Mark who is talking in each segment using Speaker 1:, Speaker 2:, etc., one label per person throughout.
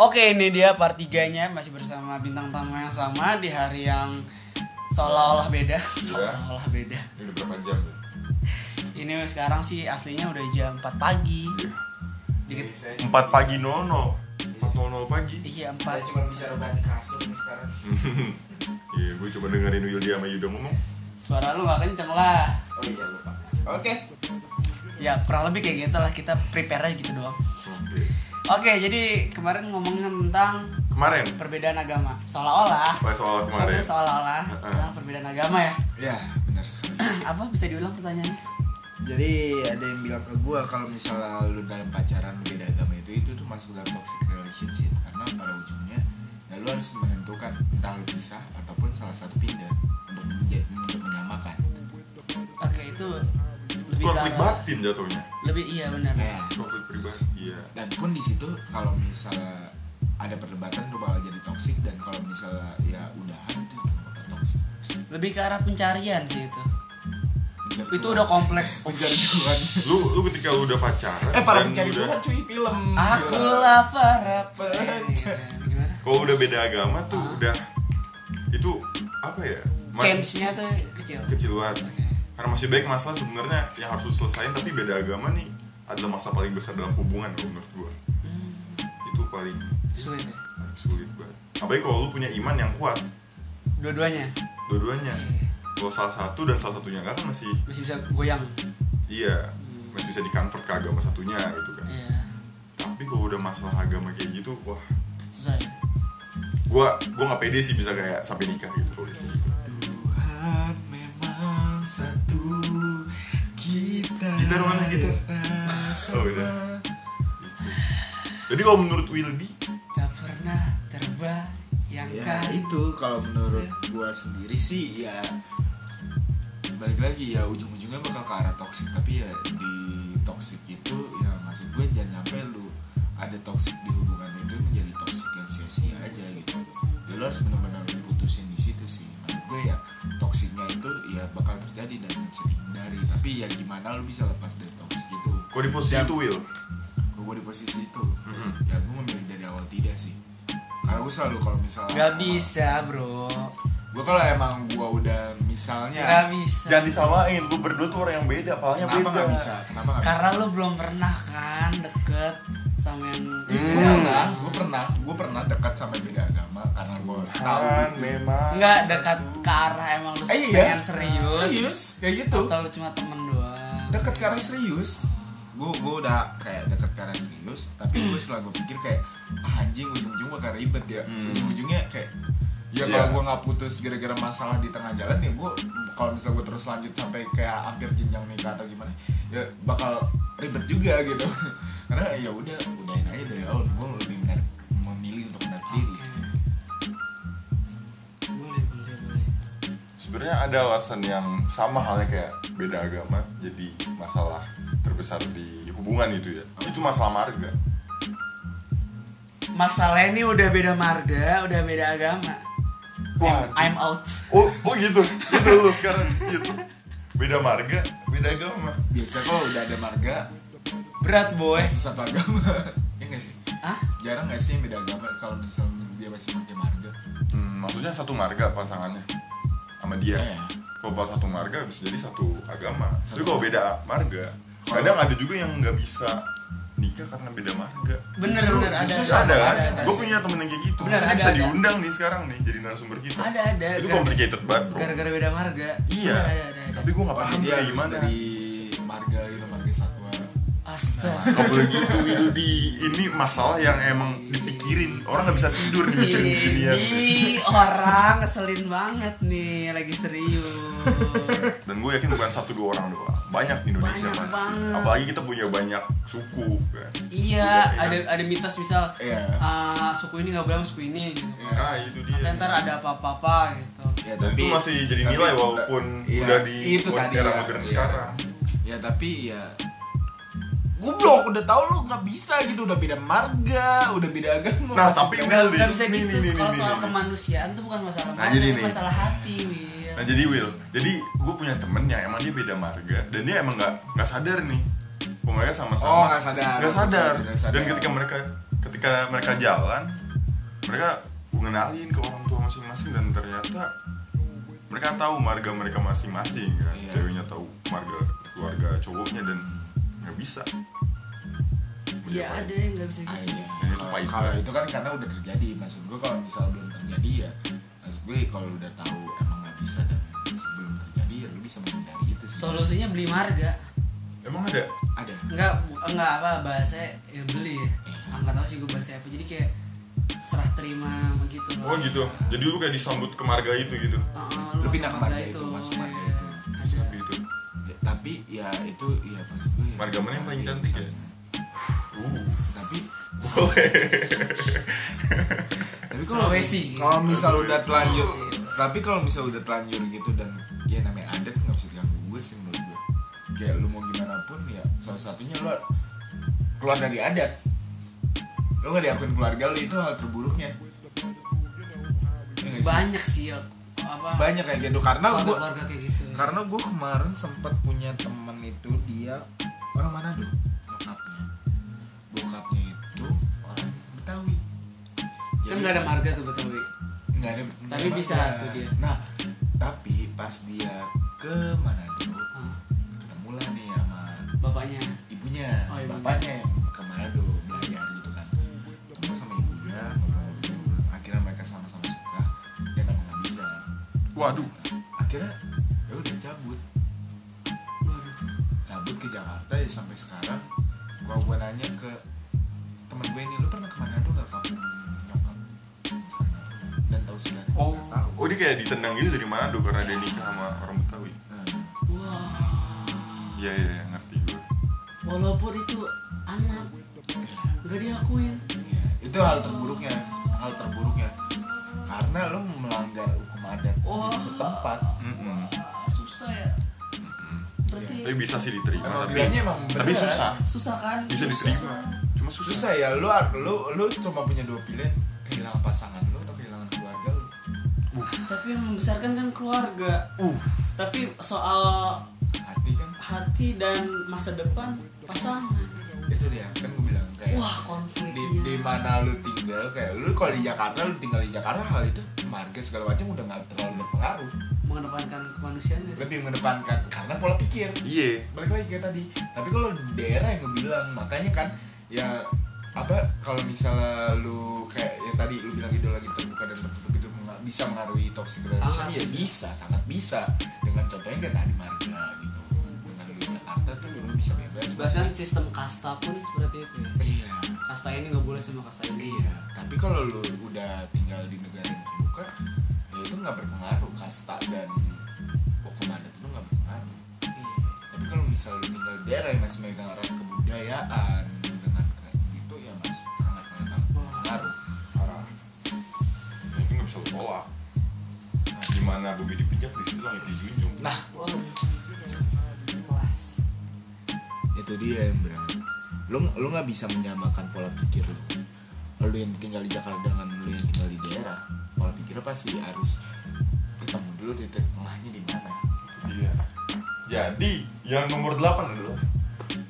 Speaker 1: Oke, ini dia part 3-nya masih bersama bintang tamu yang sama di hari yang seolah-olah beda, seolah-olah beda.
Speaker 2: Ini udah berapa jam? ya?
Speaker 1: Ini sekarang sih aslinya udah jam 4 pagi. Dikit
Speaker 3: Empat pagi nono. Empat nono pagi.
Speaker 1: iya
Speaker 4: Saya
Speaker 1: 4.
Speaker 4: cuma bisa rebahan di kasur nih sekarang.
Speaker 3: Iya, gue coba dengerin Willy sama Yudo ngomong.
Speaker 1: Suara lu gak kenceng lah.
Speaker 4: Oh iya lupa. Oke.
Speaker 1: Ya, kurang lebih kayak gitu lah kita prepare aja gitu doang.
Speaker 3: Oke.
Speaker 1: Oke, jadi kemarin ngomongin tentang
Speaker 3: Kemarin,
Speaker 1: perbedaan agama. Seolah-olah
Speaker 3: pas soal
Speaker 1: Kemarin
Speaker 3: kemarin.
Speaker 1: seolah-olah tentang perbedaan agama ya.
Speaker 4: Ya benar sekali.
Speaker 1: Apa bisa diulang pertanyaannya?
Speaker 4: Jadi ada yang bilang ke gue kalau misalnya lu dalam pacaran beda agama itu itu tuh masuk dalam toxic relationship karena pada ujungnya ya lu harus menentukan entah lu pisah ataupun salah satu pindah untuk menjadi untuk menyamakan.
Speaker 1: Oke, itu lebih ke
Speaker 3: Konflik
Speaker 1: arah-
Speaker 3: batin jatuhnya.
Speaker 1: Lebih iya benar.
Speaker 4: Nah,
Speaker 3: Konflik pribadi. Iya.
Speaker 4: dan pun di situ kalau misalnya ada perdebatan tuh bakal jadi toxic dan kalau misalnya ya udahan itu bakal toxic.
Speaker 1: Lebih ke arah pencarian sih itu.
Speaker 4: Menjadi
Speaker 1: Itu
Speaker 4: Tuhan.
Speaker 1: udah kompleks.
Speaker 4: Menjadi Tuhan.
Speaker 3: Lu lu ketika lu udah pacaran
Speaker 4: Eh para
Speaker 3: dan
Speaker 4: pencari
Speaker 3: udah
Speaker 4: Tuhan cuy film. Iya.
Speaker 1: Akulah para pencari. Gimana?
Speaker 3: kalau udah beda agama tuh
Speaker 1: Ah.
Speaker 3: udah itu apa ya? Ma-
Speaker 1: Change-nya tuh kecil.
Speaker 3: kecil banget.
Speaker 1: Oke.
Speaker 3: Karena masih baik masalah sebenarnya yang harus diselesain tapi beda agama nih adalah masalah paling besar dalam hubungan kalau menurut gue.
Speaker 1: Hmm,
Speaker 3: Itu paling
Speaker 1: sulit ya.
Speaker 3: Hmm, sulit banget. Apalagi kalau lu punya iman yang kuat
Speaker 1: Dua-duanya.
Speaker 4: Ya.
Speaker 3: dua-duanya.
Speaker 1: Iya.
Speaker 3: Kalau salah satu dan salah satunya nggak kan masih
Speaker 1: Masih bisa goyang.
Speaker 3: Iya,
Speaker 1: Hmm.
Speaker 3: masih bisa di-convert ke agama satunya gitu kan.
Speaker 1: Iya.
Speaker 3: Tapi kalau udah masalah agama kayak gitu, wah,
Speaker 1: Susah ya.
Speaker 3: gua gua nggak pede sih bisa kayak sampai nikah gitu kalau gitu.
Speaker 4: Tuhan memang satu. Kita. gitu.
Speaker 3: Gitar mana, gitar? Oh, udah. Jadi kalau menurut Wildy,
Speaker 1: Tak pernah terbayangkan.
Speaker 4: Ya itu kalau menurut gua sendiri sih ya balik lagi ya ujung-ujungnya bakal ke arah toxic tapi ya di toxic itu ya maksud gue jangan sampai lu ada toxic di hubungan itu menjadi toxic yang sia-sia aja gitu ya lu harus benar-benar putusin di situ sih maksud gue ya toxicnya itu ya bakal terjadi dan bisa dihindari tapi ya gimana lu bisa lepas dari toxic itu
Speaker 3: kalau di posisi
Speaker 4: Ya.
Speaker 3: itu Will,
Speaker 4: kalau gue di posisi itu
Speaker 3: Mhm.
Speaker 4: ya gue memilih dari awal tidak sih karena gue selalu kalau misalnya
Speaker 1: Gak bisa, Bro.
Speaker 4: gue kalau emang gue udah misalnya
Speaker 1: Gak bisa.
Speaker 3: jangan disamain. Lu berdua tuh orang yang beda, palanya
Speaker 4: kenapa
Speaker 3: beda.
Speaker 4: nggak bisa kenapa nggak bisa
Speaker 1: Karena lu belum pernah kan deket sama yang
Speaker 4: gue
Speaker 1: Hmm.
Speaker 4: pernah gue pernah gue pernah dekat sama yang beda agama karena gue tahu
Speaker 3: Kan
Speaker 4: gitu.
Speaker 3: memang.
Speaker 1: Enggak dekat ke arah emang lu
Speaker 4: Eh,
Speaker 1: pengen
Speaker 4: iya.
Speaker 1: serius.
Speaker 4: serius kayak gitu
Speaker 1: Atau lu cuma temen doang.
Speaker 4: dekat karena serius gue gue udah kayak dekat karena serius tapi gue setelah gue pikir kayak ah, anjing ujung-ujung bakal ribet ya
Speaker 3: Hmm.
Speaker 4: ujung-ujungnya kayak
Speaker 3: Iya.
Speaker 4: ya kalau gue nggak putus gara-gara masalah di tengah jalan ya gue kalau misalnya gue terus lanjut sampai kayak hampir jenjang nikah atau gimana ya bakal ribet juga gitu karena ya udah udahin aja dari awal gue lebih menarik memilih untuk menarik diri
Speaker 1: Boleh, boleh, boleh.
Speaker 3: Sebenarnya ada alasan yang sama halnya kayak beda agama, jadi masalah terbesar di hubungan itu ya. Itu masalah marga.
Speaker 1: Masalahnya ini udah beda marga, udah beda agama.
Speaker 3: Waduh.
Speaker 1: I'm, I'm out.
Speaker 3: Oh, oh gitu. Gitu lu sekarang gitu. Beda marga, beda agama.
Speaker 4: biasa kalau udah ada marga
Speaker 1: Berat, boy.
Speaker 4: masih satu agama ya nggak sih
Speaker 1: Hah?
Speaker 4: jarang nggak sih yang beda agama kalau misalnya dia masih pakai marga
Speaker 3: Hmm, maksudnya satu marga pasangannya sama dia.
Speaker 4: Iya.
Speaker 3: Kalau pas satu marga bisa jadi satu agama. Tapi
Speaker 4: Satu.
Speaker 3: kalau beda marga, kadang ada juga yang nggak bisa nikah karena beda marga.
Speaker 1: Bener,
Speaker 4: Justru-
Speaker 1: bener, ada.
Speaker 4: justru
Speaker 3: ada kan?
Speaker 1: ada, ada.
Speaker 3: Gue punya temen yang kayak gitu.
Speaker 1: Bener,
Speaker 3: Maksudnya
Speaker 1: ada,
Speaker 3: bisa
Speaker 1: ada.
Speaker 3: diundang nih sekarang nih jadi narasumber kita.
Speaker 1: Ada, ada.
Speaker 3: Itu
Speaker 1: Gara-
Speaker 3: complicated banget, bro.
Speaker 1: Gara-gara beda marga.
Speaker 3: Iya.
Speaker 1: Ada, ada, ada.
Speaker 3: Tapi gue nggak
Speaker 4: Pasti
Speaker 3: paham
Speaker 4: dia
Speaker 3: kayak
Speaker 4: harus
Speaker 3: Iya, gimana.
Speaker 4: dari marga gitu, marga satwa.
Speaker 1: Astaga.
Speaker 3: Gak boleh gitu itu di ini masalah yang emang dipikirin orang nggak bisa tidur
Speaker 1: Iya,
Speaker 3: dipikirin beginian
Speaker 1: Ini orang ngeselin banget nih, lagi serius.
Speaker 3: dan gue yakin bukan satu dua orang doang banyak di Indonesia
Speaker 1: Banyak
Speaker 3: pasti
Speaker 1: banget.
Speaker 3: apalagi kita punya banyak suku kan
Speaker 1: Iya,
Speaker 3: Budaya.
Speaker 1: ada ada mitos misal
Speaker 4: Iya.
Speaker 1: ah, suku ini nggak boleh sama suku ini gitu.
Speaker 3: nah itu dia
Speaker 1: Nanti ntar ada apa-apa gitu.
Speaker 4: Ya,
Speaker 3: Dan itu masih jadi nilai walaupun
Speaker 4: Iya,
Speaker 3: udah di
Speaker 4: itu tadi
Speaker 3: era
Speaker 4: ya.
Speaker 3: modern
Speaker 4: Iya.
Speaker 3: sekarang
Speaker 4: Ya tapi ya Goblok, udah tau lu nggak bisa gitu, udah beda marga, udah beda agama.
Speaker 3: Nah,
Speaker 4: masih
Speaker 3: tapi
Speaker 4: beda-
Speaker 3: Willy,
Speaker 1: Nggak bisa
Speaker 3: nih,
Speaker 1: gitu.
Speaker 3: nih, nih,
Speaker 1: Kalau
Speaker 3: nih,
Speaker 1: soal
Speaker 3: nih.
Speaker 1: kemanusiaan tuh bukan masalah
Speaker 3: Nah,
Speaker 1: marga,
Speaker 3: jadi
Speaker 1: ini
Speaker 3: nih.
Speaker 1: masalah hati, Wil.
Speaker 3: nah jadi Will jadi gue punya temen yang emang dia beda marga dan dia emang nggak nggak sadar nih Kok mereka sama-sama
Speaker 4: Oh, nggak sadar.
Speaker 3: Nggak sadar.
Speaker 4: Nggak sadar.
Speaker 3: dan ketika mereka ketika mereka jalan mereka mengenalin ke orang tua masing-masing dan ternyata mereka tahu marga mereka masing-masing kan
Speaker 4: Iya.
Speaker 3: ceweknya tahu marga keluarga cowoknya dan nggak bisa
Speaker 1: Iya
Speaker 3: Menjawab.
Speaker 1: ada yang nggak bisa
Speaker 4: Ah,
Speaker 1: gitu.
Speaker 4: iya.
Speaker 3: Dan itu
Speaker 4: Kalau-
Speaker 3: pahit
Speaker 4: Kalau
Speaker 3: banget.
Speaker 4: itu kan karena udah terjadi, maksud gue kalau misal belum terjadi ya, maksud gue kalau udah tahu emang nggak bisa dan sebelum terjadi ya lu bisa menghindari itu. sih.
Speaker 1: Solusinya beli marga.
Speaker 3: emang ada
Speaker 4: ada.
Speaker 1: Enggak enggak apa bahasa ya beli ya. Enggak tahu sih gue bahasa apa. Jadi kayak serah terima begitu.
Speaker 3: oh gitu jadi lu kayak disambut ke marga itu gitu
Speaker 1: Heeh, Ah,
Speaker 4: Lu
Speaker 1: masuk
Speaker 4: pindah ke
Speaker 1: marga
Speaker 4: marga itu, masuk marga
Speaker 1: iya.
Speaker 4: itu.
Speaker 1: Ada.
Speaker 3: gitu
Speaker 4: Ya, tapi ya itu ya maksud gue. Ya,
Speaker 3: Marga mana yang paling cantik ya? uh
Speaker 4: Tapi
Speaker 3: boleh
Speaker 4: tapi kalau
Speaker 1: Sulawesi.
Speaker 4: kalau misal
Speaker 3: Sulawesi.
Speaker 4: udah telanjur, tapi kalau misal udah telanjur gitu dan ya namanya adat nggak bisa diganggu gue sih menurut gue. Kayak lu mau gimana pun ya salah satunya lu keluar dari adat. Lu nggak diakuin keluarga lu itu hal terburuknya. Ya nggak sih?
Speaker 1: Banyak sih ya, apa?
Speaker 4: banyak kayak gitu karena gue
Speaker 1: keluarga kayak gitu.
Speaker 4: karena gue kemarin sempat punya temen itu dia orang Manado nyokapnya bokapnya itu orang Betawi
Speaker 1: kan nggak ada marga tuh Betawi.
Speaker 4: nggak ada nggak
Speaker 1: Tapi
Speaker 4: ada
Speaker 1: bisa
Speaker 4: masalah.
Speaker 1: tuh dia.
Speaker 4: nah tapi pas dia ke Manado
Speaker 1: Hmm,
Speaker 4: ketemulah nih sama
Speaker 1: Bapaknya.
Speaker 4: ibunya
Speaker 1: Oh, ibunya.
Speaker 4: bapaknya yang ke Manado belajar gitu kan ketemu sama ibunya ngobrol-ngobrol akhirnya mereka sama-sama suka dan aku nggak bisa
Speaker 3: waduh
Speaker 4: akhirnya ya udah cabut
Speaker 1: Waduh.
Speaker 4: cabut ke Jakarta ya sampai sekarang gua gua nanya ke temen gue ini lu pernah ke Manado nggak kamu nyokap Misalnya, dan tahu sebenarnya
Speaker 3: oh
Speaker 4: Nggak tahu
Speaker 3: oh dia kayak ditendang gitu dari Manado karena dia nikah sama orang Betawi
Speaker 4: Nah,
Speaker 1: Wah.
Speaker 3: iya iya iya, ngerti gue
Speaker 1: Walaupun itu anak nggak diakuin.
Speaker 4: iya. itu hal terburuknya hal terburuknya karena lu melanggar hukum adat
Speaker 1: Oh.
Speaker 4: di setempat
Speaker 3: Mm-mm.
Speaker 1: Ah, susah ya.
Speaker 3: Mm-mm.
Speaker 1: Berarti
Speaker 4: Iya.
Speaker 3: tapi bisa sih diterima
Speaker 4: Emang
Speaker 3: tapi
Speaker 4: bilangnya emang
Speaker 3: tapi
Speaker 4: beneran.
Speaker 3: susah
Speaker 1: susah kan?
Speaker 3: bisa diterima cuma susah,
Speaker 4: susah ya lu lu lu cuma punya dua pilihan kehilangan pasangan lu atau kehilangan keluarga lu
Speaker 1: Tapi yang membesarkan kan keluarga.
Speaker 3: Uh.
Speaker 1: Tapi soal
Speaker 4: hati kan
Speaker 1: hati dan masa depan pasangan.
Speaker 4: itu dia kan gue bilang kayak
Speaker 1: Wah, iya.
Speaker 4: di,
Speaker 1: konfliknya.
Speaker 4: di mana lu tinggal kayak lu kalau di Jakarta lu tinggal di Jakarta hal itu marga segala macam udah nggak terlalu berpengaruh
Speaker 1: mengedepankan kemanusiaan ya.
Speaker 4: lebih mengedepankan karena pola pikir
Speaker 3: iya
Speaker 4: balik lagi kayak tadi tapi kalau di daerah yang gue bilang makanya kan ya apa kalau misalnya lu kayak yang tadi lu bilang itu lagi terbuka dan tertutup itu menga- bisa mengaruhi toxic relationship
Speaker 1: Sangat
Speaker 4: ya
Speaker 1: bisa.
Speaker 4: bisa sangat bisa dengan contohnya kayak tadi marga gitu dengan lu di Jakarta tuh lu bisa bebas
Speaker 1: Bahkan sistem kasta pun seperti itu ya.
Speaker 4: iya
Speaker 1: Kasta ini nggak boleh sama kasta ini.
Speaker 4: Iya, tapi kalau lu udah tinggal di negara yang terbuka, ya itu nggak berpengaruh kasta dan hukum adat itu nggak berpengaruh. Tapi kalau misal lu tinggal di daerah yang masih megang erat kebudayaan dengan kayak gitu ya masih sangat sangat amat berpengaruh.
Speaker 3: parah Ya, itu nggak bisa lu tolak gimana bumi dipijak di situ langit dijunjung
Speaker 4: Nah,
Speaker 1: Wah, kelas.
Speaker 4: itu dia yang berarti. Lu lu nggak bisa menyamakan pola pikir lu. Lu yang tinggal di Jakarta dengan lu yang tinggal di daerah, pola pikirnya pasti harus ketemu dulu titik tengahnya di mana.
Speaker 3: iya jadi yang nomor 8 adalah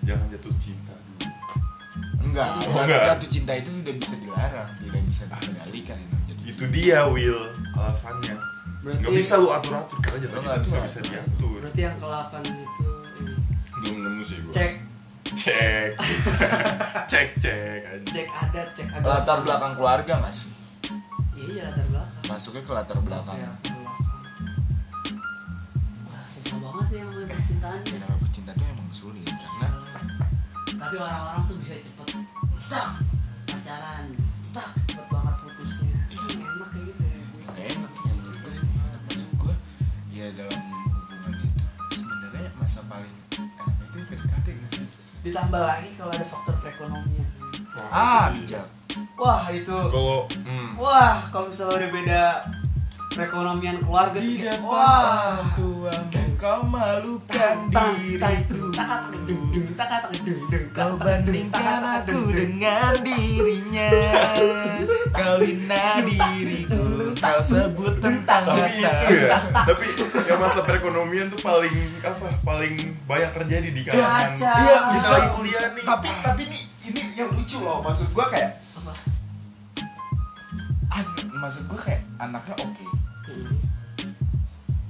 Speaker 3: jangan jatuh cinta dulu
Speaker 4: Enggak,
Speaker 3: Oh,
Speaker 4: jatuh,
Speaker 3: enggak.
Speaker 4: jatuh cinta itu tidak bisa dilarang, tidak bisa dikendalikan yang namanya jatuh
Speaker 3: itu
Speaker 4: cinta.
Speaker 3: dia Will alasannya
Speaker 1: Berarti-
Speaker 3: nggak bisa lu atur atur karena jatuh
Speaker 4: Lu
Speaker 3: cinta
Speaker 4: nggak
Speaker 3: itu
Speaker 4: bisa
Speaker 3: nggak bisa
Speaker 4: atur-atur.
Speaker 3: diatur
Speaker 1: Berarti yang ke-8 itu ini.
Speaker 3: belum nemu sih gua
Speaker 1: Cek
Speaker 3: cek cek cek aja
Speaker 1: cek adat, cek adat.
Speaker 4: Latar belakang keluarga mas,
Speaker 1: Iya, iya latar belakang.
Speaker 4: masuknya ke latar belakang.
Speaker 1: Iya, latar belakang. Wah, susah banget ya yang percintaan. Nah,
Speaker 4: Yang namanya percintaan itu emang sulit karena
Speaker 1: tapi orang-orang tuh bisa cepet stuck pacaran stuck cepet banget putusnya
Speaker 4: Iya.
Speaker 1: Ini enak kayak gitu ya
Speaker 4: yang gak enak, yang menurut gue sih nggak enak. maksud gue ya dalam hubungan itu sebenarnya masa paling enak itu PDKT nggak sih?
Speaker 1: ditambah lagi kalau ada faktor perekonomian
Speaker 3: Wah,
Speaker 4: Ah
Speaker 3: itu dia.
Speaker 4: bijak.
Speaker 1: wah itu
Speaker 3: kalau hmm,
Speaker 1: wah kalau misalnya udah beda perekonomian keluarga tuh
Speaker 4: Di
Speaker 1: kayak,
Speaker 4: depan
Speaker 1: wah
Speaker 4: orang tuamu kau malukan
Speaker 1: tang tang tang
Speaker 4: diriku.
Speaker 1: tak tak dung dung tak tak dung dung
Speaker 4: Kau bandingkan aku dengan dirinya Kau hina diriku Kau sebut tentang
Speaker 3: tapi itu
Speaker 4: mata
Speaker 3: ya tapi yang masalah perekonomian tuh paling apa paling banyak terjadi di kalangan
Speaker 1: Cuaca.
Speaker 4: Iya
Speaker 3: Kita
Speaker 4: bisa
Speaker 3: lagi kuliah nih.
Speaker 4: Tapi tapi ini ini yang lucu loh Maksud gua kayak
Speaker 1: Apa?
Speaker 4: maksud gue kayak anaknya oke
Speaker 2: Hmm.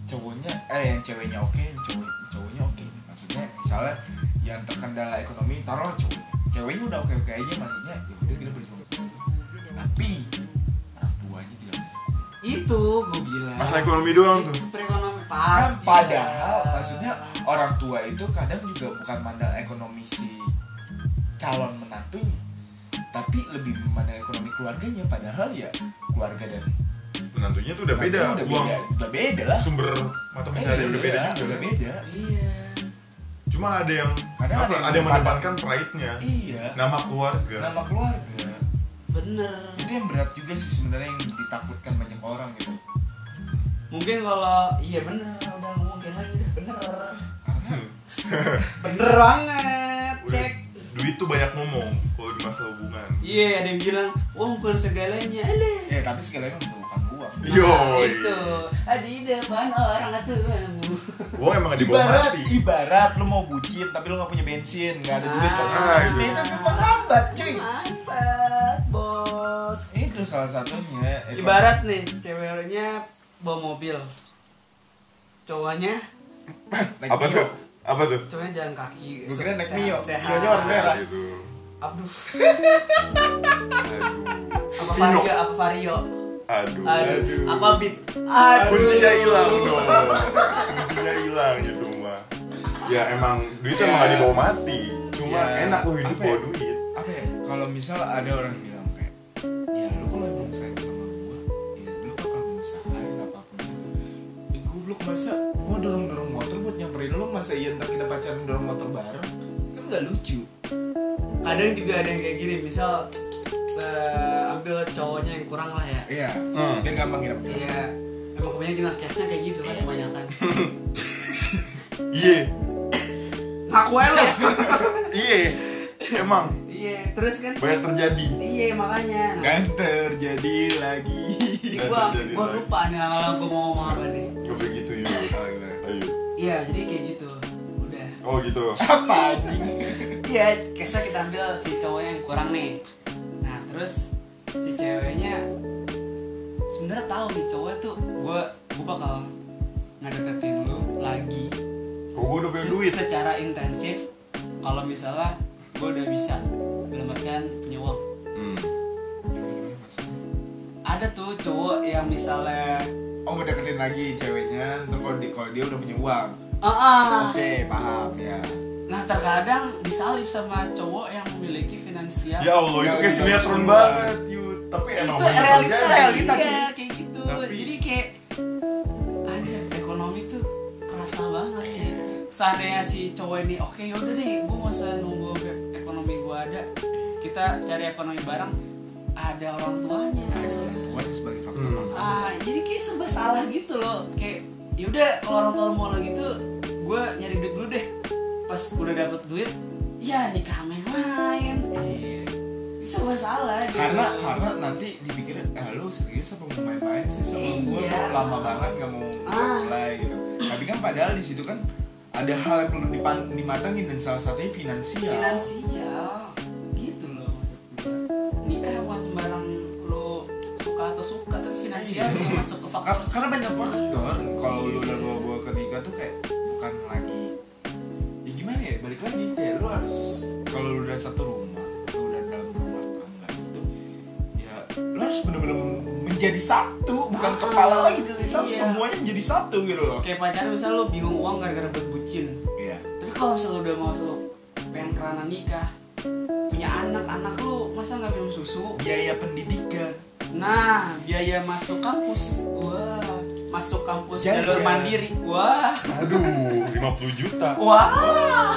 Speaker 4: cowoknya eh yang ceweknya oke yang cowok cowoknya oke maksudnya misalnya yang terkendala ekonomi taruh cowoknya ceweknya udah oke oke aja maksudnya ya udah kita berjuang tapi orang tuanya tidak
Speaker 2: itu gue bilang
Speaker 3: Masalah ekonomi doang tuh.
Speaker 1: perekonomian
Speaker 4: kan
Speaker 2: pasti
Speaker 4: padahal
Speaker 2: lah.
Speaker 4: maksudnya orang tua itu kadang juga bukan mandang ekonomi si calon menantunya tapi lebih memandang ekonomi keluarganya padahal ya keluarga dan
Speaker 3: Menantunya tuh udah beda,
Speaker 4: udah
Speaker 3: uang
Speaker 4: beda udah beda lah
Speaker 3: sumber mata pencaharian udah beda
Speaker 4: Iya,
Speaker 3: juga. kan.
Speaker 4: udah beda
Speaker 2: iya
Speaker 3: Cuma ada yang
Speaker 4: Kadang
Speaker 3: apa,
Speaker 4: ada yang
Speaker 3: ada yang
Speaker 4: mendepan-
Speaker 3: mendepankan pride-nya,
Speaker 4: iya
Speaker 3: nama keluarga.
Speaker 4: nama keluarga
Speaker 1: bener
Speaker 4: itu yang berat juga sih sebenarnya yang ditakutkan banyak orang gitu
Speaker 1: mungkin kalau iya bener udah mungkin lagi udah bener
Speaker 4: karena
Speaker 3: Hmm.
Speaker 1: bener banget
Speaker 3: Udah,
Speaker 1: cek
Speaker 3: Duit tuh banyak ngomong kalau di masa hubungan.
Speaker 1: iya ada yang bilang uang bukan segalanya Alah.
Speaker 4: ya tapi segalanya membutuhkan uang
Speaker 1: Nah,
Speaker 3: Yoi.
Speaker 1: itu ada di depan orang atuh
Speaker 3: Uang emang di bawah
Speaker 4: ibarat
Speaker 3: mati.
Speaker 4: ibarat lu mau bucin tapi lu gak punya bensin gak ada duit
Speaker 1: Ah,
Speaker 4: sama
Speaker 3: Nah,
Speaker 4: sekali
Speaker 3: itu.
Speaker 4: itu kan menghambat cuy
Speaker 1: Mantap, bos.
Speaker 4: itu salah satunya Ekonomi.
Speaker 1: Ibarat nih, ceweknya bawa mobil. Cowoknya,
Speaker 4: Naik
Speaker 3: Apa
Speaker 4: Mio.
Speaker 3: tuh? Apa tuh?
Speaker 1: cowoknya jalan kaki.
Speaker 4: Gua kira naik
Speaker 1: Sehat-
Speaker 4: Mio.
Speaker 1: sehat.
Speaker 4: Mio-nya warna merah.
Speaker 3: Gitu.
Speaker 1: Aduh,
Speaker 3: Aduh.
Speaker 1: apa
Speaker 3: Vino.
Speaker 1: Vario, apa Vario.
Speaker 3: Aduh.
Speaker 1: Aduh, apa Beat.
Speaker 3: kuncinya
Speaker 1: Aduh.
Speaker 3: hilang dong kuncinya hilang gitu mah ya emang duit emang
Speaker 4: Ya.
Speaker 3: gak dibawa mati cuma
Speaker 4: Ya,
Speaker 3: enak lo hidup
Speaker 4: apa ya?
Speaker 3: bawa duit
Speaker 4: apa ya kalau misal ada orang bilang kayak ya lu kalau emang sayang sama gua ya lu bakal ngusahain apapun itu ya goblok masa gua dorong dorong motor buat nyamperin lu masa iya ntar kita pacaran dorong motor bareng kan nggak lucu
Speaker 1: Kadang juga ada yang kayak gini, misal eh, ambil cowoknya yang kurang lah ya.
Speaker 4: iya
Speaker 3: Hmm.
Speaker 4: biar gampang kita
Speaker 1: Iya.
Speaker 4: penjelasan
Speaker 1: Emang kebanyakan juga case-nya kayak gitu kan kebanyakan.
Speaker 3: iya
Speaker 1: Ngaku aja lo.
Speaker 3: iya emang
Speaker 1: Iya, terus kan
Speaker 3: banyak terjadi
Speaker 1: Iya makanya. Nah,
Speaker 4: kan terjadi lagi
Speaker 1: jadi
Speaker 3: Nggak
Speaker 1: gua
Speaker 3: terjadi
Speaker 1: gua
Speaker 3: lagi.
Speaker 1: lupa nih lama-lama gua mau ngomong apa nih.
Speaker 3: gak begitu ya
Speaker 4: Kalau gimana?
Speaker 3: ayo
Speaker 1: Iya jadi kayak gitu. Udah.
Speaker 3: oh gitu
Speaker 4: apa anjing
Speaker 1: Iya kisah kita ambil si cowoknya yang kurang nih. Nah terus si ceweknya sebenarnya tahu nih cowok tuh gua gua bakal ngedeketin lu lagi
Speaker 3: kok gue udah punya
Speaker 1: se-
Speaker 3: duit
Speaker 1: secara intensif kalau misalnya gua udah bisa mendapatkan punya uang.
Speaker 3: hmm.
Speaker 1: Ada tuh cowok yang misalnya
Speaker 4: oh mau deketin lagi ceweknya terus kalau di- kalau dia udah punya uang
Speaker 1: ah ah.
Speaker 4: oke paham ya
Speaker 1: Nah terkadang disalip sama cowok yang memiliki finansial
Speaker 3: ya allah itu
Speaker 4: Ya,
Speaker 3: kayak
Speaker 4: itu
Speaker 3: sinetron
Speaker 4: semua.
Speaker 3: banget yuk tapi emang
Speaker 1: itu
Speaker 3: banyak
Speaker 1: realita
Speaker 3: terjadi.
Speaker 1: realita iya, kayak gitu
Speaker 3: Tapi-
Speaker 1: jadi kayak anjir ekonomi tuh kerasa banget sih seandainya si cowok ini oke yaudah deh gue gak usah nunggu be- ekonomi gue ada kita cari ekonomi bareng ada orang tuanya
Speaker 4: Pokoknya sebagai faktor
Speaker 3: Hmm.
Speaker 1: ah jadi kayak serba salah gitu loh kayak yaudah kalau orang tua lu mau lo gitu gue nyari duit dulu deh pas udah dapet duit ya nikah sama yang lain
Speaker 4: Iya.
Speaker 1: serba salah gitu.
Speaker 4: karena karena nanti dipikir eh lu serius apa mau main-main sih sama gue
Speaker 1: Iya.
Speaker 4: mau lama banget nggak mau
Speaker 1: Ah.
Speaker 4: mulai gitu tapi kan padahal di situ kan ada hal yang perlu dipan- dimatangin dan salah satunya finansial
Speaker 1: finansial Ya iya, gitu loh maksud gue nikah bukan sembarang lo suka atau suka tapi finansial
Speaker 4: Iya.
Speaker 1: juga masuk ke faktor
Speaker 4: Kar- karena banyak faktor kalau lu udah bawa bawa ke nikah tuh kayak bukan lagi ya gimana ya balik lagi kayak lu harus kalau lu udah satu rumah lu udah dalam rumah tangga gitu ya lu harus bener-bener menjadi satu bukan
Speaker 1: Ah,
Speaker 4: kepala lagi jadi satu
Speaker 1: iya.
Speaker 4: semuanya jadi satu gitu loh
Speaker 1: kayak pacaran misalnya lo bingung uang gara-gara buat bucin
Speaker 4: Iya.
Speaker 1: tapi kalau misalnya lo udah mau lo pengen kerana nikah punya anak anak lo masa nggak minum susu
Speaker 4: biaya pendidikan
Speaker 1: nah biaya masuk kampus wah masuk kampus
Speaker 4: Jajan.
Speaker 1: jalur mandiri wah
Speaker 3: aduh 50 juta
Speaker 1: wah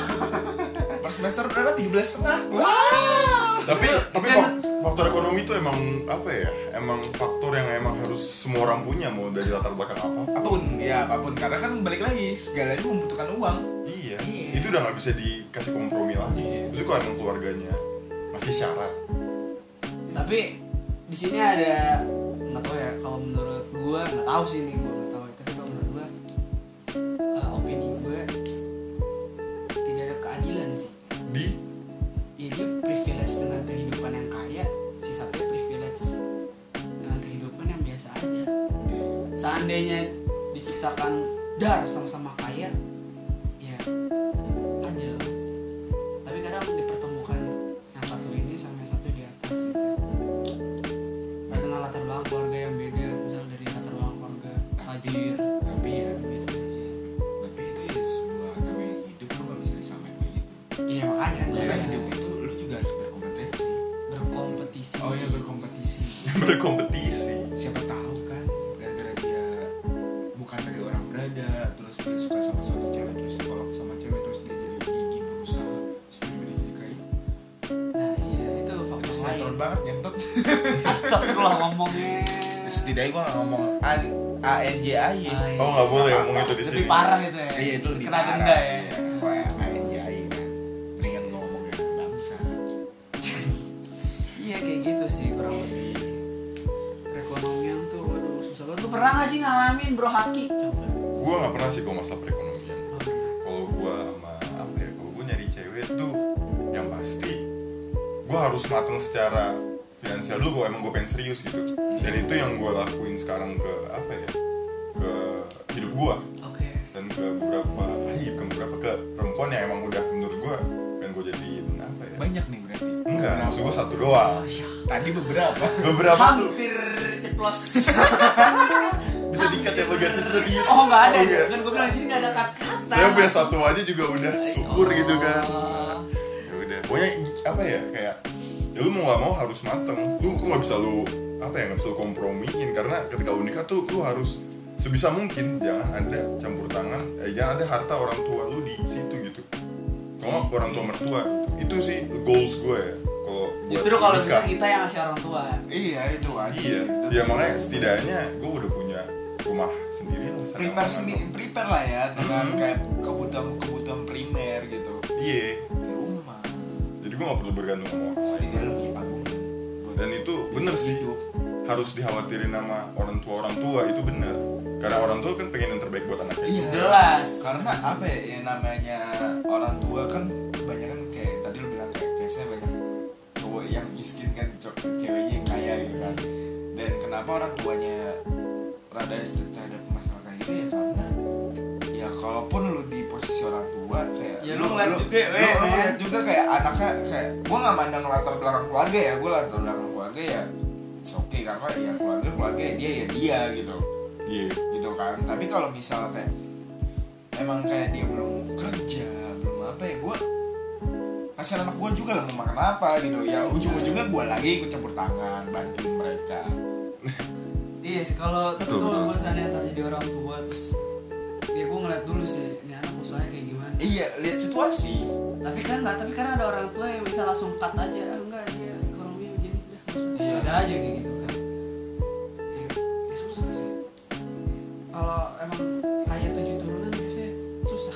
Speaker 4: per semester berapa tiga belas setengah
Speaker 1: wah
Speaker 3: tapi tapi
Speaker 1: Kan-
Speaker 3: fak- faktor ekonomi itu emang apa ya emang faktor yang emang harus semua orang punya mau dari latar belakang apa
Speaker 4: apapun ya apapun karena kan balik lagi segalanya membutuhkan uang
Speaker 3: iya,
Speaker 1: Iya.
Speaker 3: itu udah nggak bisa dikasih kompromi lagi
Speaker 4: Iya.
Speaker 3: maksudnya kalau emang keluarganya masih syarat
Speaker 1: tapi di sini ada nggak tahu ya kalau menurut gue nggak tahu sih nih gue nggak tahu ya. tapi kalau menurut gue opini gue tidak ada keadilan sih
Speaker 3: di
Speaker 1: ya dia privilege dengan kehidupan yang kaya si satu privilege dengan kehidupan yang biasa seandainya diciptakan dar sama-sama kaya ya adil tapi kadang dipertemukan yang satu ini sama yang satu di atas gitu. Nah, dengan latar belakang keluarga yang beda misalnya dari latar belakang keluarga tajir
Speaker 4: tapi ya biasa aja tapi itu ya sebuah namanya hidup lu gak bisa disamain kayak gitu
Speaker 1: iya makanya kan
Speaker 4: karena
Speaker 1: makanya
Speaker 4: hidup itu lu juga harus berkompetensi
Speaker 1: berkompetisi
Speaker 4: oh ya berkompetisi
Speaker 3: berkompetisi
Speaker 4: siapa tahu kan gara-gara dia bukan dari orang berada terus dia suka sama suatu cewek terus ditolak sama cewek terus dia jadi gigi berusaha terus tiba-tiba dia jadi kayak
Speaker 1: nah iya itu
Speaker 4: terus
Speaker 1: faktor lain
Speaker 4: sinetron banget ngentot
Speaker 1: astagfirullah ngomongnya
Speaker 4: setidaknya gue gak ngomong an a n j a y
Speaker 1: Ah, iya.
Speaker 3: oh nggak boleh ngomong itu di
Speaker 1: lebih
Speaker 3: sini
Speaker 1: parah itu ya
Speaker 4: iya itu lebih
Speaker 1: kena
Speaker 4: parah,
Speaker 1: denda ya
Speaker 4: iya. soalnya a n j a y kan mendingan gue ngomongnya bangsa
Speaker 1: iya kayak gitu sih kurang lebih
Speaker 4: Iya.
Speaker 1: perekonomian tuh waduh susah banget lu pernah gak sih ngalamin bro haki coba
Speaker 3: gue nggak pernah sih kalau masalah perekonomian kalau gue sama apa ya kalau gue nyari cewek tuh yang pasti gue harus mateng secara finansial dulu gue emang gue pengen serius gitu dan itu yang gue lakuin sekarang ke apa ya ke hidup gue
Speaker 1: oke
Speaker 3: dan ke beberapa lagi ke beberapa ke perempuan yang emang udah menurut gue pengen gue jadiin apa ya
Speaker 4: banyak nih berarti
Speaker 3: enggak maksud gue satu doang
Speaker 1: oh iya
Speaker 4: tadi beberapa
Speaker 3: beberapa tuh
Speaker 1: hampir ceplos
Speaker 3: bisa dikat ya bagian sendiri
Speaker 1: oh nggak ada
Speaker 3: iya.
Speaker 1: kan gue bilang di sini nggak ada kata-kata
Speaker 3: saya punya satu aja juga udah syukur gitu kan
Speaker 1: Oh.
Speaker 3: ya udah pokoknya apa ya kayak ya lu mau nggak mau harus mateng lu lu nggak bisa lu apa ya nggak bisa lu kompromiin karena ketika lu nikah tuh lu harus sebisa mungkin jangan ada campur tangan eh, jangan ada harta orang tua lu di situ gitu kalau nggak orang tua mertua itu sih goals gue ya kalau buat
Speaker 1: justru kalau bisa
Speaker 3: nikah.
Speaker 1: kita yang ngasih orang tua
Speaker 4: iya itu wajib
Speaker 3: iya ya makanya setidaknya gue udah punya rumah sendiri lah sana
Speaker 4: prepare
Speaker 3: sana.
Speaker 4: sendiri prepare lah ya dengan
Speaker 3: Mhm.
Speaker 4: kayak kebutuhan kebutuhan primer gitu
Speaker 3: iya
Speaker 4: di rumah
Speaker 3: jadi gue nggak perlu bergantung sama orang lain
Speaker 4: setidaknya Gitu. lu punya tabungan iya, buat
Speaker 3: dan itu bener sih
Speaker 4: hidup
Speaker 3: harus dikhawatirin sama orang tua orang tua itu benar karena orang tua kan pengen yang terbaik buat anaknya
Speaker 4: Iya.
Speaker 1: jelas
Speaker 4: karena apa ya yang namanya orang tua kan kebanyakan kayak tadi lu bilang kayak case nya banyak cowok yang miskin kan cowok ceweknya yang kaya gitu kan dan kenapa orang tuanya rada strict terhadap masalah kayak gitu ya karena ya kalaupun lu di posisi orang tua kayak
Speaker 1: Ya, lu ngeliat juga,
Speaker 4: lu,
Speaker 1: weh,
Speaker 4: lu
Speaker 1: men.
Speaker 4: ngeliat juga kayak anaknya kayak gua nggak mandang latar belakang keluarga ya gua latar belakang keluarga ya oke karena ya keluarga keluarga ya dia ya dia gitu
Speaker 3: iya
Speaker 4: gitu kan tapi kalau misalnya kayak emang kayak dia belum kerja belum apa ya gue kasih anak gue juga lah mau makan apa gitu ya ujung-ujungnya gue lagi ikut campur tangan bantuin mereka
Speaker 1: Iya sih kalau tapi
Speaker 3: Betul,
Speaker 1: kalau
Speaker 3: betul.
Speaker 1: gue seandainya ntar jadi orang tua terus ya gue ngeliat dulu sih ini anak usahanya kayak gimana.
Speaker 4: iya lihat situasi
Speaker 1: Tapi kan nggak, tapi kan ada orang tua yang bisa langsung cut aja, ah, enggak dia ekonomi begini, udah nggak usah.
Speaker 4: Iya.
Speaker 1: Ada aja kayak gitu kan. Ya, ya susah sih. Kalau emang kaya tujuh turunan biasanya susah.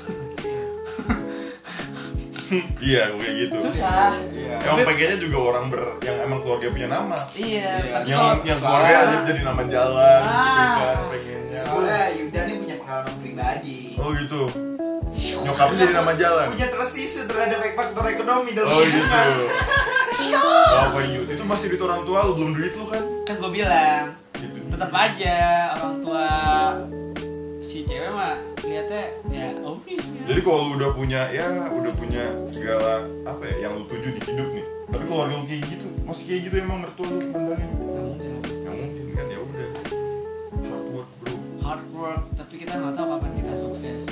Speaker 3: iya kayak gitu
Speaker 1: susah.
Speaker 4: iya
Speaker 3: emang pengennya juga orang ber yang emang keluarga punya nama
Speaker 1: Iya.
Speaker 4: Iya,
Speaker 1: tapi
Speaker 3: yang
Speaker 1: soal-
Speaker 3: yang
Speaker 4: soalnya-
Speaker 3: keluarga aja jadi nama jalan gitu kan
Speaker 1: Ah.
Speaker 3: pengennya
Speaker 2: Soalnya Yuda nih punya pengalaman pribadi.
Speaker 3: oh gitu nyokapnya jadi nama jalan
Speaker 4: punya tersisa terhadap faktor ekonomi dalam
Speaker 3: oh
Speaker 4: hidup.
Speaker 3: gitu apa you itu masih duit orang tua lu belum duit lu kan
Speaker 1: kan gue bilang
Speaker 3: gitu
Speaker 1: tetap aja orang tua si cewek mah lihatnya ya oke.
Speaker 3: jadi kalau lu udah punya ya udah punya segala apa ya yang lu tuju di hidup nih tapi keluarga lu kayak gitu masih kayak gitu emang mertua lu pandangnya
Speaker 1: Nggak mungkin lah, pasti.
Speaker 3: nggak mungkin kan ya udah hard work bro
Speaker 1: hard work tapi kita nggak tahu kapan kita sukses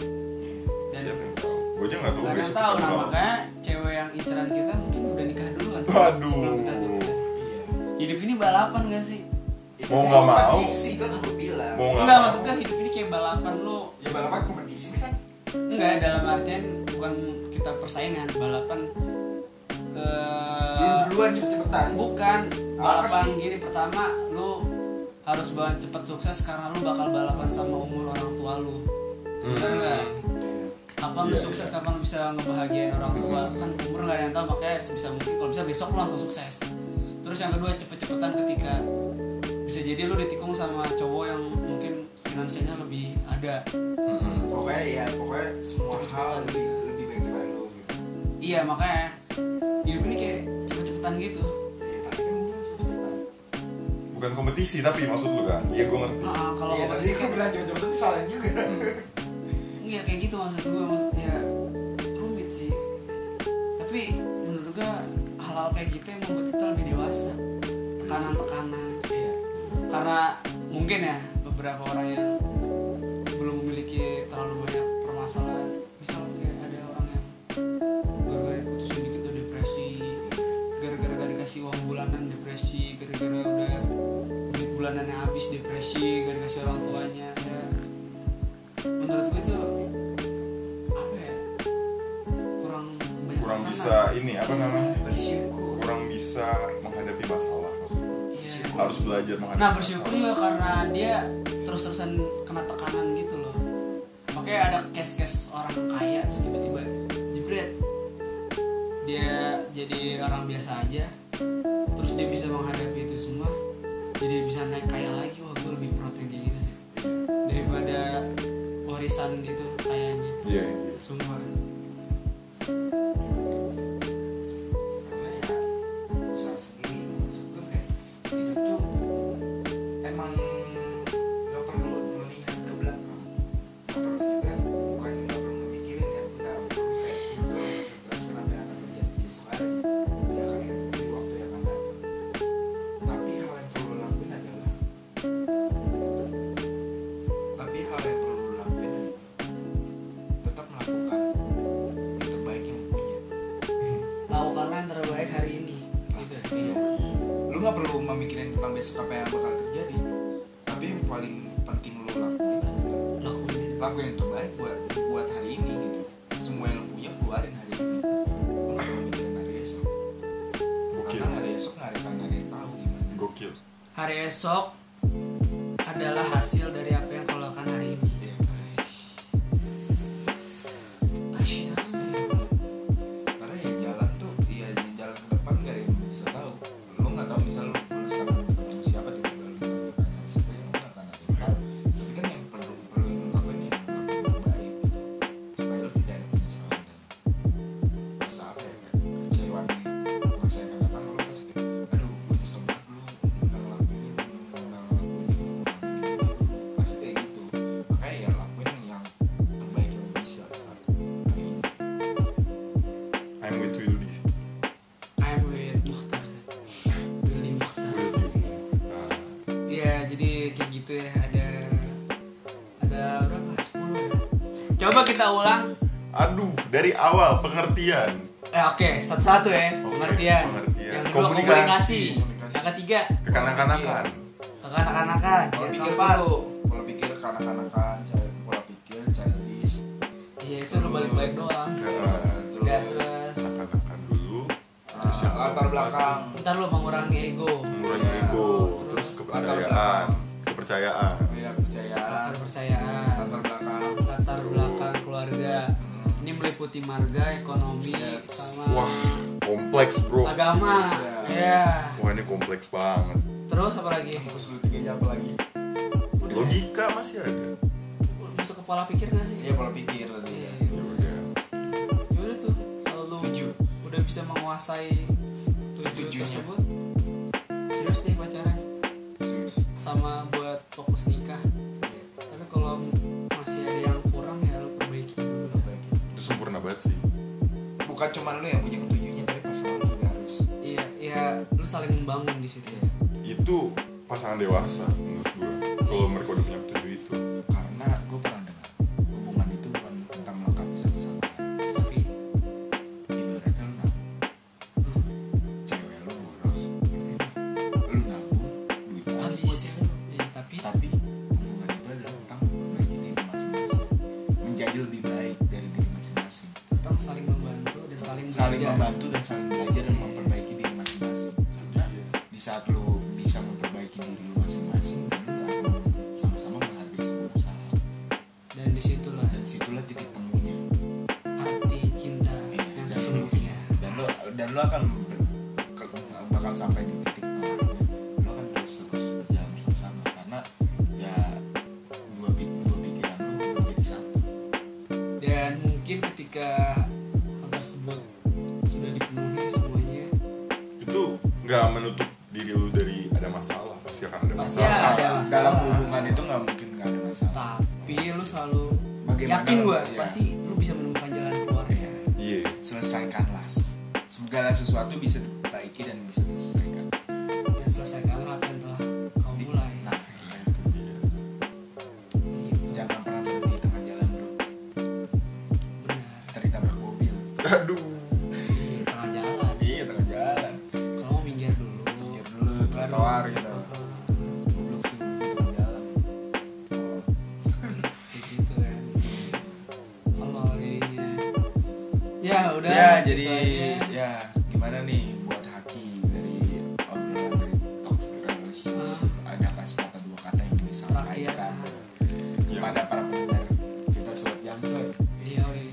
Speaker 1: dan
Speaker 3: siapa yang tahu gue aja nggak tahu
Speaker 1: nggak
Speaker 3: besok
Speaker 1: tahu
Speaker 3: kita
Speaker 1: nah
Speaker 3: bakal-
Speaker 1: makanya cewek yang inceran kita mungkin udah nikah duluan
Speaker 3: Waduh.
Speaker 1: sebelum kita sukses hidup ini balapan gak sih
Speaker 4: Iya.
Speaker 2: Itu
Speaker 3: Mau nggak mau.
Speaker 2: kompetisi, kan gue bilang.
Speaker 3: mau
Speaker 1: enggak
Speaker 3: nggak
Speaker 1: maksud gue hidup ini kayak balapan lu
Speaker 4: ya balapan kompetisi kan
Speaker 1: enggak dalam artian bukan kita persaingan balapan
Speaker 4: dulu
Speaker 3: Iya.
Speaker 1: eh
Speaker 4: duluan cepet cepetan
Speaker 1: bukan balapan
Speaker 4: sih?
Speaker 1: gini pertama lu harus banget cepet sukses karena lu bakal balapan sama umur orang tua lu bener nggak? kapan lu
Speaker 3: Iya,
Speaker 1: sukses
Speaker 3: iya.
Speaker 1: kapan lu bisa ngebahagiain orang tua kan umur nggak ada yang tahu makanya sebisa mungkin kalau bisa besok lu langsung sukses terus yang kedua cepet-cepetan ketika bisa jadi lu ditikung sama cowok yang mungkin finansialnya lebih ada
Speaker 3: Mm-mm.
Speaker 4: pokoknya ya pokoknya semua hal
Speaker 1: Cepet-cepetan.
Speaker 4: lebih lebih baik daripada lu gitu
Speaker 1: iya makanya hidup ini kayak cepet-cepetan gitu
Speaker 4: Iya, ya tapi kan lu cepet-cepetan.
Speaker 3: bukan bukan kompetisi tapi maksud lu kan iya gue ngerti
Speaker 1: Nah, kalau
Speaker 4: Iya,
Speaker 1: kompetisi
Speaker 4: tapi kan Hmm. bilang cepet-cepet itu salah juga.
Speaker 1: Iya kayak gitu maksud gue maksud ya rumit sih. Tapi menurut gue hal-hal kayak gitu yang membuat kita lebih dewasa. Tekanan-tekanan. Karena mungkin ya beberapa orang yang belum memiliki terlalu banyak permasalahan. Misal kayak ada orang yang gara-gara putusin dikit tuh depresi, gara-gara gak dikasih uang bulanan depresi, gara-gara udah duit bulanannya habis depresi, gara-gara si orang tuanya. Ya menurut gue itu apa ya kurang banyak
Speaker 3: kurang
Speaker 1: tekanan.
Speaker 3: bisa ini apa namanya
Speaker 4: Bersyukur.
Speaker 3: kurang bisa menghadapi masalah maksudnya.
Speaker 1: Iya.
Speaker 3: harus belajar menghadapi
Speaker 1: nah bersyukur
Speaker 3: masalah.
Speaker 1: juga karena dia terus-terusan kena tekanan gitu loh makanya ada case-case orang kaya terus tiba-tiba jebret dia jadi orang biasa aja terus dia bisa menghadapi itu semua jadi bisa naik kaya lagi wah gue lebih protein kayak gitu sih daripada warisan gitu kayaknya
Speaker 3: iya iya.
Speaker 1: semua
Speaker 4: Karena ya, usaha sendiri. Maksud
Speaker 1: kan
Speaker 4: gue kayak, hidup tuh emang nggak perlu melihat ke belakang. Nggak perlu juga, bukan nggak perlu memikirin ya, nggak perlu kayak gitu, stres kenapa yang akan terjadi besok hari. Dia akan di waktu yang akan datang. Tapi hal yang perlu lo lakuin adalah tapi hal yang perlu lo lakuin adalah tetap melakukan yang terbaik yang lo punya
Speaker 1: lakukanlah yang terbaik hari ini
Speaker 4: Gitu. Iya. Lu nggak perlu memikirin tentang besok apa yang bakal terjadi. Tapi yang paling penting lu lakuin adalah
Speaker 1: lakuin
Speaker 4: lakuin yang terbaik buat buat hari ini gitu. Semua yang lu punya keluarin hari ini. Lu nggak perlu mikirin hari esok.
Speaker 3: gokil
Speaker 4: Karena hari esok nggak ada nggak ada yang tahu gimana.
Speaker 3: gokil
Speaker 1: hari esok adalah hasil dari apa yang kau lakukan hari ini
Speaker 4: Iya.
Speaker 1: Asyik.
Speaker 4: Karena ya jalan tuh, ya jalan ke depan nggak ada yang bisa tahu. Lu nggak tahu misalnya lu lu sekarang ketemu siapa di dalam siapa yang lu nggak akan ada yang tahu. Tapi kan yang perlu perlu yang lu lakuin yang lu lakuin yang baik gitu. Supaya lu tidak ada penyesalan dan rasa apa ya kayak kecewaan nih. Kalau saya kadang lu pasti aduh gue nyesel banget lu nggak ngelakuin ini, lu nggak ngelakuin ini, lu nggak ngelakuin ini. Pasti kayak gitu. Makanya ya lakuin yang terbaik yang lu bisa saat hari ini.
Speaker 3: I'm with you di
Speaker 1: I'm with Mukhtar Willy Mukhtar
Speaker 3: with you Nah,
Speaker 1: ya jadi kayak gitu ya ada ada berapa 10 ya coba kita ulang
Speaker 3: aduh dari awal pengertian
Speaker 1: eh oke satu-satu ya pengertian
Speaker 3: pengertian.
Speaker 1: yang kedua
Speaker 3: Komunikasi.
Speaker 1: komunikasi,
Speaker 4: Komunikasi.
Speaker 1: yang ketiga
Speaker 3: kekanak-kanakan
Speaker 1: kekanak-kanakan
Speaker 4: pola
Speaker 1: yang
Speaker 4: pikir
Speaker 1: keempat
Speaker 4: dulu pola pikir kanak-kanakan cara pola pikir childish eh,
Speaker 1: iya itu lu balik-balik doang
Speaker 3: Nah,
Speaker 1: udah
Speaker 4: terus
Speaker 1: terus
Speaker 3: kekanak-kanakan dulu terus
Speaker 4: uh,
Speaker 3: yang
Speaker 4: latar
Speaker 3: keempat,
Speaker 4: belakang
Speaker 1: ntar lu mengurangi ego
Speaker 3: mengurangi
Speaker 4: Ya,
Speaker 3: ego
Speaker 1: terus
Speaker 3: terus
Speaker 4: latar
Speaker 3: kepercayaan
Speaker 4: belakang.
Speaker 3: kepercayaan
Speaker 4: ya kepercayaan
Speaker 1: rasa percayaan
Speaker 4: latar belakang
Speaker 1: latar belakang keluarga
Speaker 4: Hmm.
Speaker 1: ini meliputi marga ekonomi
Speaker 4: Yes.
Speaker 1: sama
Speaker 3: wah kompleks bro
Speaker 1: agama
Speaker 4: Ya.
Speaker 1: ya
Speaker 3: wah ini kompleks banget
Speaker 1: terus apa lagi
Speaker 4: kampus lu tiganya apa lagi
Speaker 1: Udah.
Speaker 3: logika masih ada
Speaker 1: masuk kepala pikir nggak sih
Speaker 4: iya pola pikir tadi ya
Speaker 3: ya udah
Speaker 1: ya udah tuh kalau lu
Speaker 4: tujuh
Speaker 1: udah bisa menguasai tujuh
Speaker 4: Tujuhnya.
Speaker 1: tersebut serius deh pacaran
Speaker 4: serius
Speaker 1: sama buat fokus nikah tapi kalau masih ada yang kurang ya lu perbaiki dulu
Speaker 3: itu sempurna banget sih
Speaker 4: bukan cuma lu yang punya ketujuhnya tapi pasangan lu juga harus
Speaker 1: iya iya lu saling membangun di situ
Speaker 3: itu pasangan dewasa menurut gua kalau mereka udah punya tujuh itu
Speaker 4: karena gue pernah dengar hubungan itu bukan tentang melengkapi satu sama lain
Speaker 1: tapi
Speaker 4: ibaratnya lu nabung cewek lu boros lu nabung duit lu
Speaker 1: harus
Speaker 4: habis
Speaker 1: motivasi iya tapi
Speaker 4: tapi hubungan itu adalah tentang memperbaiki diri masing-masing menjadi lebih baik dari diri masing-masing
Speaker 1: tentang saling membantu dan saling,
Speaker 4: saling
Speaker 1: belajar.
Speaker 4: membantu dan saling belajar dan memperbaiki diri masing-masing karena di saat lo bisa memperbaiki diri lo masing-masing dan lo akan sama-sama menghargai sebuah usaha
Speaker 1: dan disitulah
Speaker 4: dan situlah titik temunya
Speaker 1: arti cinta
Speaker 4: Iya,
Speaker 1: yang
Speaker 4: dan-
Speaker 1: sesungguhnya
Speaker 4: dan lo dan lo akan ber- ke- bakal sampai di titik tengahnya lo akan terus terus berjalan bersama karena ya dua, pi- dua pikiran lo menjadi satu
Speaker 1: dan mungkin ketika hal tersebut sudah dipenuhi semuanya
Speaker 3: itu nggak menutup diri lu dari ada masalah pasti pasti akan ada
Speaker 1: Pasti
Speaker 3: masalah
Speaker 1: ada.
Speaker 4: Dalam-
Speaker 1: masalah.
Speaker 4: dalam hubungan itu nggak mungkin nggak ada masalah
Speaker 1: tapi lu selalu
Speaker 4: Bagaimana
Speaker 1: yakin
Speaker 4: lu-
Speaker 1: gua
Speaker 4: iya.
Speaker 1: pasti lu bisa menemukan jalan keluarnya
Speaker 3: iya
Speaker 4: selesaikanlah segala sesuatu bisa diperbaiki dan bisa diselesaikan
Speaker 1: dan selesaikanlah apa yang telah kau mulai
Speaker 4: nah iya itu dia.
Speaker 1: gitu
Speaker 4: jangan pernah berhenti di tengah jalan bro
Speaker 1: benar
Speaker 4: tertabrak mobil
Speaker 3: aduh
Speaker 1: di tengah jalan
Speaker 4: iya tengah jalan
Speaker 1: kalau mau minggir dulu
Speaker 4: Minggir Iya, dulu, trotoar gitu. goblok sih di tengah jalan
Speaker 1: Kayak gitu kan Allah jadinya ya udah
Speaker 4: ya
Speaker 1: gitu
Speaker 4: jadi
Speaker 1: aja.
Speaker 4: ya gimana nih buat haki dari obrolan dari toxic relationship adakah sepatah dua kata yang bisa
Speaker 1: Terakhir. ya, kan.
Speaker 4: sampaikan kepada para pendengar kita sobat Jamsel
Speaker 1: iya weh.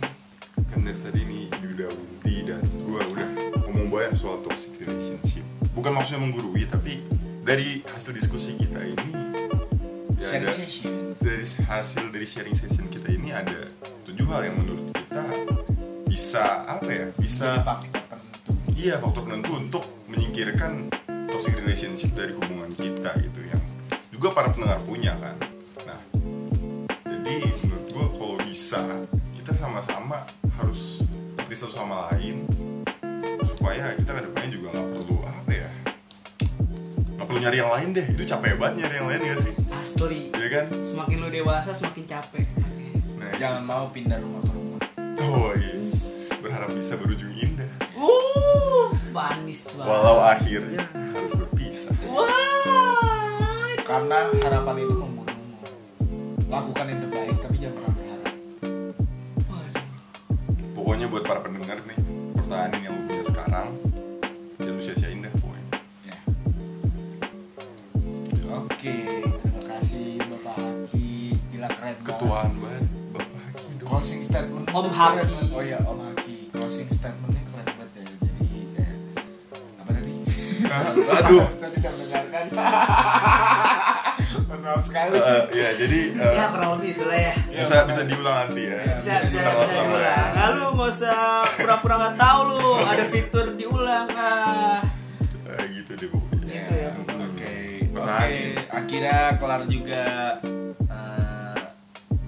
Speaker 3: kan dari tadi nih Yuda Wudi dan gua udah ngomong banyak soal toxic relationship bukan maksudnya menggurui tapi dari hasil diskusi kita ini ya
Speaker 4: sharing
Speaker 3: ada-
Speaker 4: session
Speaker 3: dari hasil dari sharing session kita ini ada tujuh hal yang menurut kita bisa apa ya
Speaker 4: bisa
Speaker 3: bisa
Speaker 4: faktor tertentu
Speaker 3: iya faktor penentu untuk menyingkirkan toxic relationship dari hubungan kita gitu yang juga para pendengar punya kan nah jadi menurut gua kalau bisa kita sama-sama harus ngerti satu sama lain supaya kita kedepannya juga nggak perlu apa ya nggak perlu nyari yang lain deh itu capek banget nyari yang lain gak sih
Speaker 1: asli
Speaker 3: ya kan
Speaker 1: semakin lu dewasa semakin capek
Speaker 3: nah itu-
Speaker 4: jangan mau pindah rumah ke rumah
Speaker 3: Oh iya, berharap bisa berujung indah.
Speaker 1: uh manis banget
Speaker 3: Walau akhirnya harus berpisah.
Speaker 1: wah
Speaker 4: karena harapan itu membunuhmu lakukan yang terbaik tapi jangan pernah berharap
Speaker 1: Waduh.
Speaker 3: Pokoknya buat para pendengar nih, pertahanin yang lu punya sekarang, ya lu sia-siain dah pokoknya.
Speaker 4: ya oke terima kasih bapak Haki gila keren banget.
Speaker 3: Ketuaan banget, Bapak Haki dong.
Speaker 4: closing statement
Speaker 1: Om
Speaker 4: keren
Speaker 1: Haki.
Speaker 4: banget. oh ya om Haki closing statementnya keren banget ya jadi eh, apa tadi
Speaker 3: Ah, Aduh.
Speaker 4: saya tidak mendengarkan Mohon maaf sekali
Speaker 3: Eh, ya jadi eh,
Speaker 1: ya kurang lebih itulah ya
Speaker 3: bisa bisa diulang nanti ya.
Speaker 4: Iya,
Speaker 1: bisa bisa
Speaker 3: Ntar
Speaker 1: bisa
Speaker 3: lama.
Speaker 1: diulang ah, lu nggak usah pura-pura nggak tahu lu ada fitur diulang ah
Speaker 3: Eh, gitu deh pokoknya.
Speaker 4: Ya,
Speaker 1: Itu ya,
Speaker 4: Oke,
Speaker 1: pokoknya.
Speaker 4: oke.
Speaker 3: Pertahanin.
Speaker 4: Akhirnya kelar juga eh,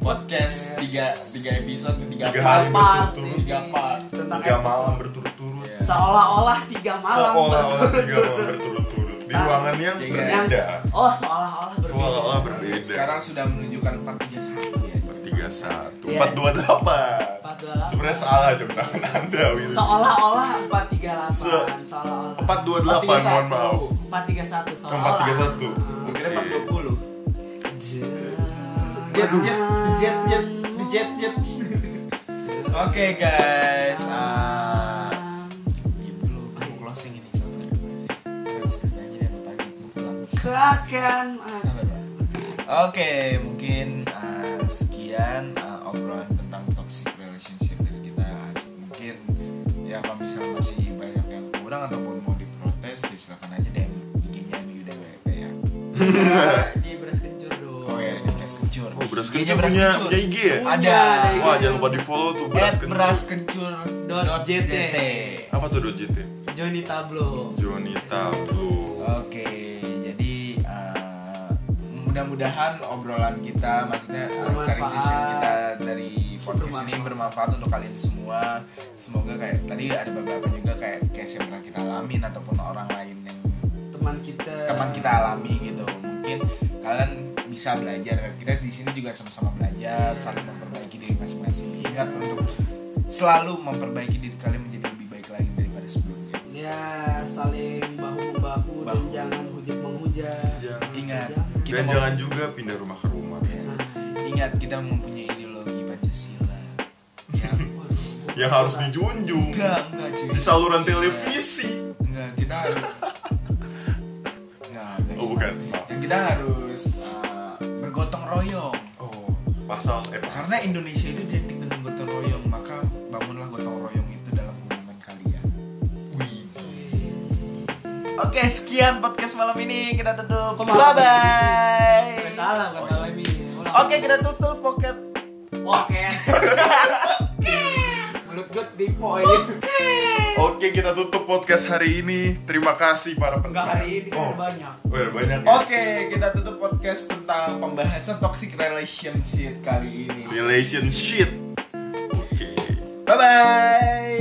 Speaker 4: podcast
Speaker 1: Yes.
Speaker 4: tiga tiga episode tiga,
Speaker 3: Tiga
Speaker 4: part.
Speaker 3: hari
Speaker 1: part
Speaker 3: berturut-turut.
Speaker 1: ini
Speaker 4: Tiga part.
Speaker 1: tentang
Speaker 3: Tiga
Speaker 1: episode.
Speaker 3: malam berturut-turut.
Speaker 4: Iya.
Speaker 1: Ya. seolah-olah tiga malam
Speaker 3: Seolah-olah tiga
Speaker 1: berturut-turut.
Speaker 3: malam berturut-turut di ruangan yang
Speaker 4: Yang-
Speaker 1: yang
Speaker 3: berbeda.
Speaker 1: oh seolah-olah berbeda
Speaker 3: Seolah-olah berbeda.
Speaker 4: Sekarang sudah menunjukkan empat tiga satu ya.
Speaker 3: tiga satu
Speaker 1: Iya.
Speaker 3: empat dua delapan
Speaker 1: 428.
Speaker 3: sebenarnya salah jam tangan anda Wil
Speaker 1: seolah-olah empat tiga
Speaker 3: Se-
Speaker 1: seolah-olah
Speaker 3: empat dua delapan mohon
Speaker 4: 431.
Speaker 3: maaf Kan
Speaker 1: empat tiga satu seolah-olah
Speaker 3: empat tiga satu
Speaker 4: Gue kira empat dua puluh.
Speaker 1: jet jet
Speaker 4: jet jet jet jet. Oke guys. ah, diem dulu. Aku mau closing ini sampai. Habis nyanyi dan pagi mau pulang.
Speaker 1: Bahkan
Speaker 4: Sabar, Pak. Oke, mungkin uh, sekian uh, obrolan tentang toxic relationship dari kita. Mungkin ya kalau misalnya masih banyak yang kurang ataupun mau diprotes, ya silakan aja DM IG-nya MUDWP ya.
Speaker 1: di beras kencur dong
Speaker 4: Oh ya, di Beras Kencur.
Speaker 3: oh beras
Speaker 4: IG-nya
Speaker 3: kencur punya punya IG ya
Speaker 4: Ada.
Speaker 1: Punya,
Speaker 3: wah jangan lupa di follow tuh beras
Speaker 4: At
Speaker 3: kencur
Speaker 4: Beras Kencur
Speaker 1: Dot
Speaker 4: dot
Speaker 1: JT.
Speaker 4: JT.
Speaker 3: apa tuh dojit ya
Speaker 1: Johnny Tablo
Speaker 3: Joni Tablo
Speaker 4: Oke, jadi uh, mudah-mudahan obrolan kita, maksudnya uh, sharing session kita dari podcast ini bermanfaat untuk kalian semua. Semoga kayak tadi ada beberapa juga kayak case yang pernah kita alamin ataupun orang lain yang
Speaker 1: teman kita
Speaker 4: teman kita alami gitu. Mungkin kalian bisa belajar. Kita di sini juga sama-sama belajar, saling memperbaiki diri masing-masing. Ingat untuk selalu memperbaiki diri kalian menjadi lebih baik lagi daripada sebelumnya.
Speaker 1: ya saling bahu membahu dan
Speaker 4: Bahu.
Speaker 1: jangan Iya. hujat menghujat
Speaker 3: Jangan.
Speaker 4: Ingat,
Speaker 1: Jangan.
Speaker 4: kita
Speaker 3: dan
Speaker 4: mau-
Speaker 3: jangan juga pindah rumah ke rumah
Speaker 4: Ya.
Speaker 1: Nah.
Speaker 4: Ingat kita mempunyai ideologi Pancasila yang
Speaker 1: Waduh.
Speaker 3: yang harus dijunjung
Speaker 4: enggak enggak cuy
Speaker 3: di saluran televisi
Speaker 4: enggak kita harus enggak guys
Speaker 3: oh bukan maaf
Speaker 4: yang kita harus uh, bergotong royong
Speaker 3: oh pasal eh pasal.
Speaker 4: karena Indonesia itu identik dengan gotong royong maka bangunlah gotong royong itu dalam hubungan kalian
Speaker 3: Wih.
Speaker 4: oke sekian podcast malam ini kita tutup
Speaker 1: Kok
Speaker 4: bye
Speaker 1: malam?
Speaker 4: bye
Speaker 1: Eh, salah bukan
Speaker 4: Oh, iya.
Speaker 1: malam ini Ulang.
Speaker 4: oke kita tutup pocket
Speaker 1: oke menurut gue di poin
Speaker 3: Oke, kita tutup podcast hari ini. Terima kasih para
Speaker 5: Enggak
Speaker 3: pendengar.
Speaker 5: hari ini kan
Speaker 3: oh.
Speaker 5: ada banyak.
Speaker 3: Oh, ada banyak. ya?
Speaker 4: Oke, kita tutup podcast tentang pembahasan toxic relationship kali ini.
Speaker 3: Relationship. Oke.
Speaker 4: Bye bye.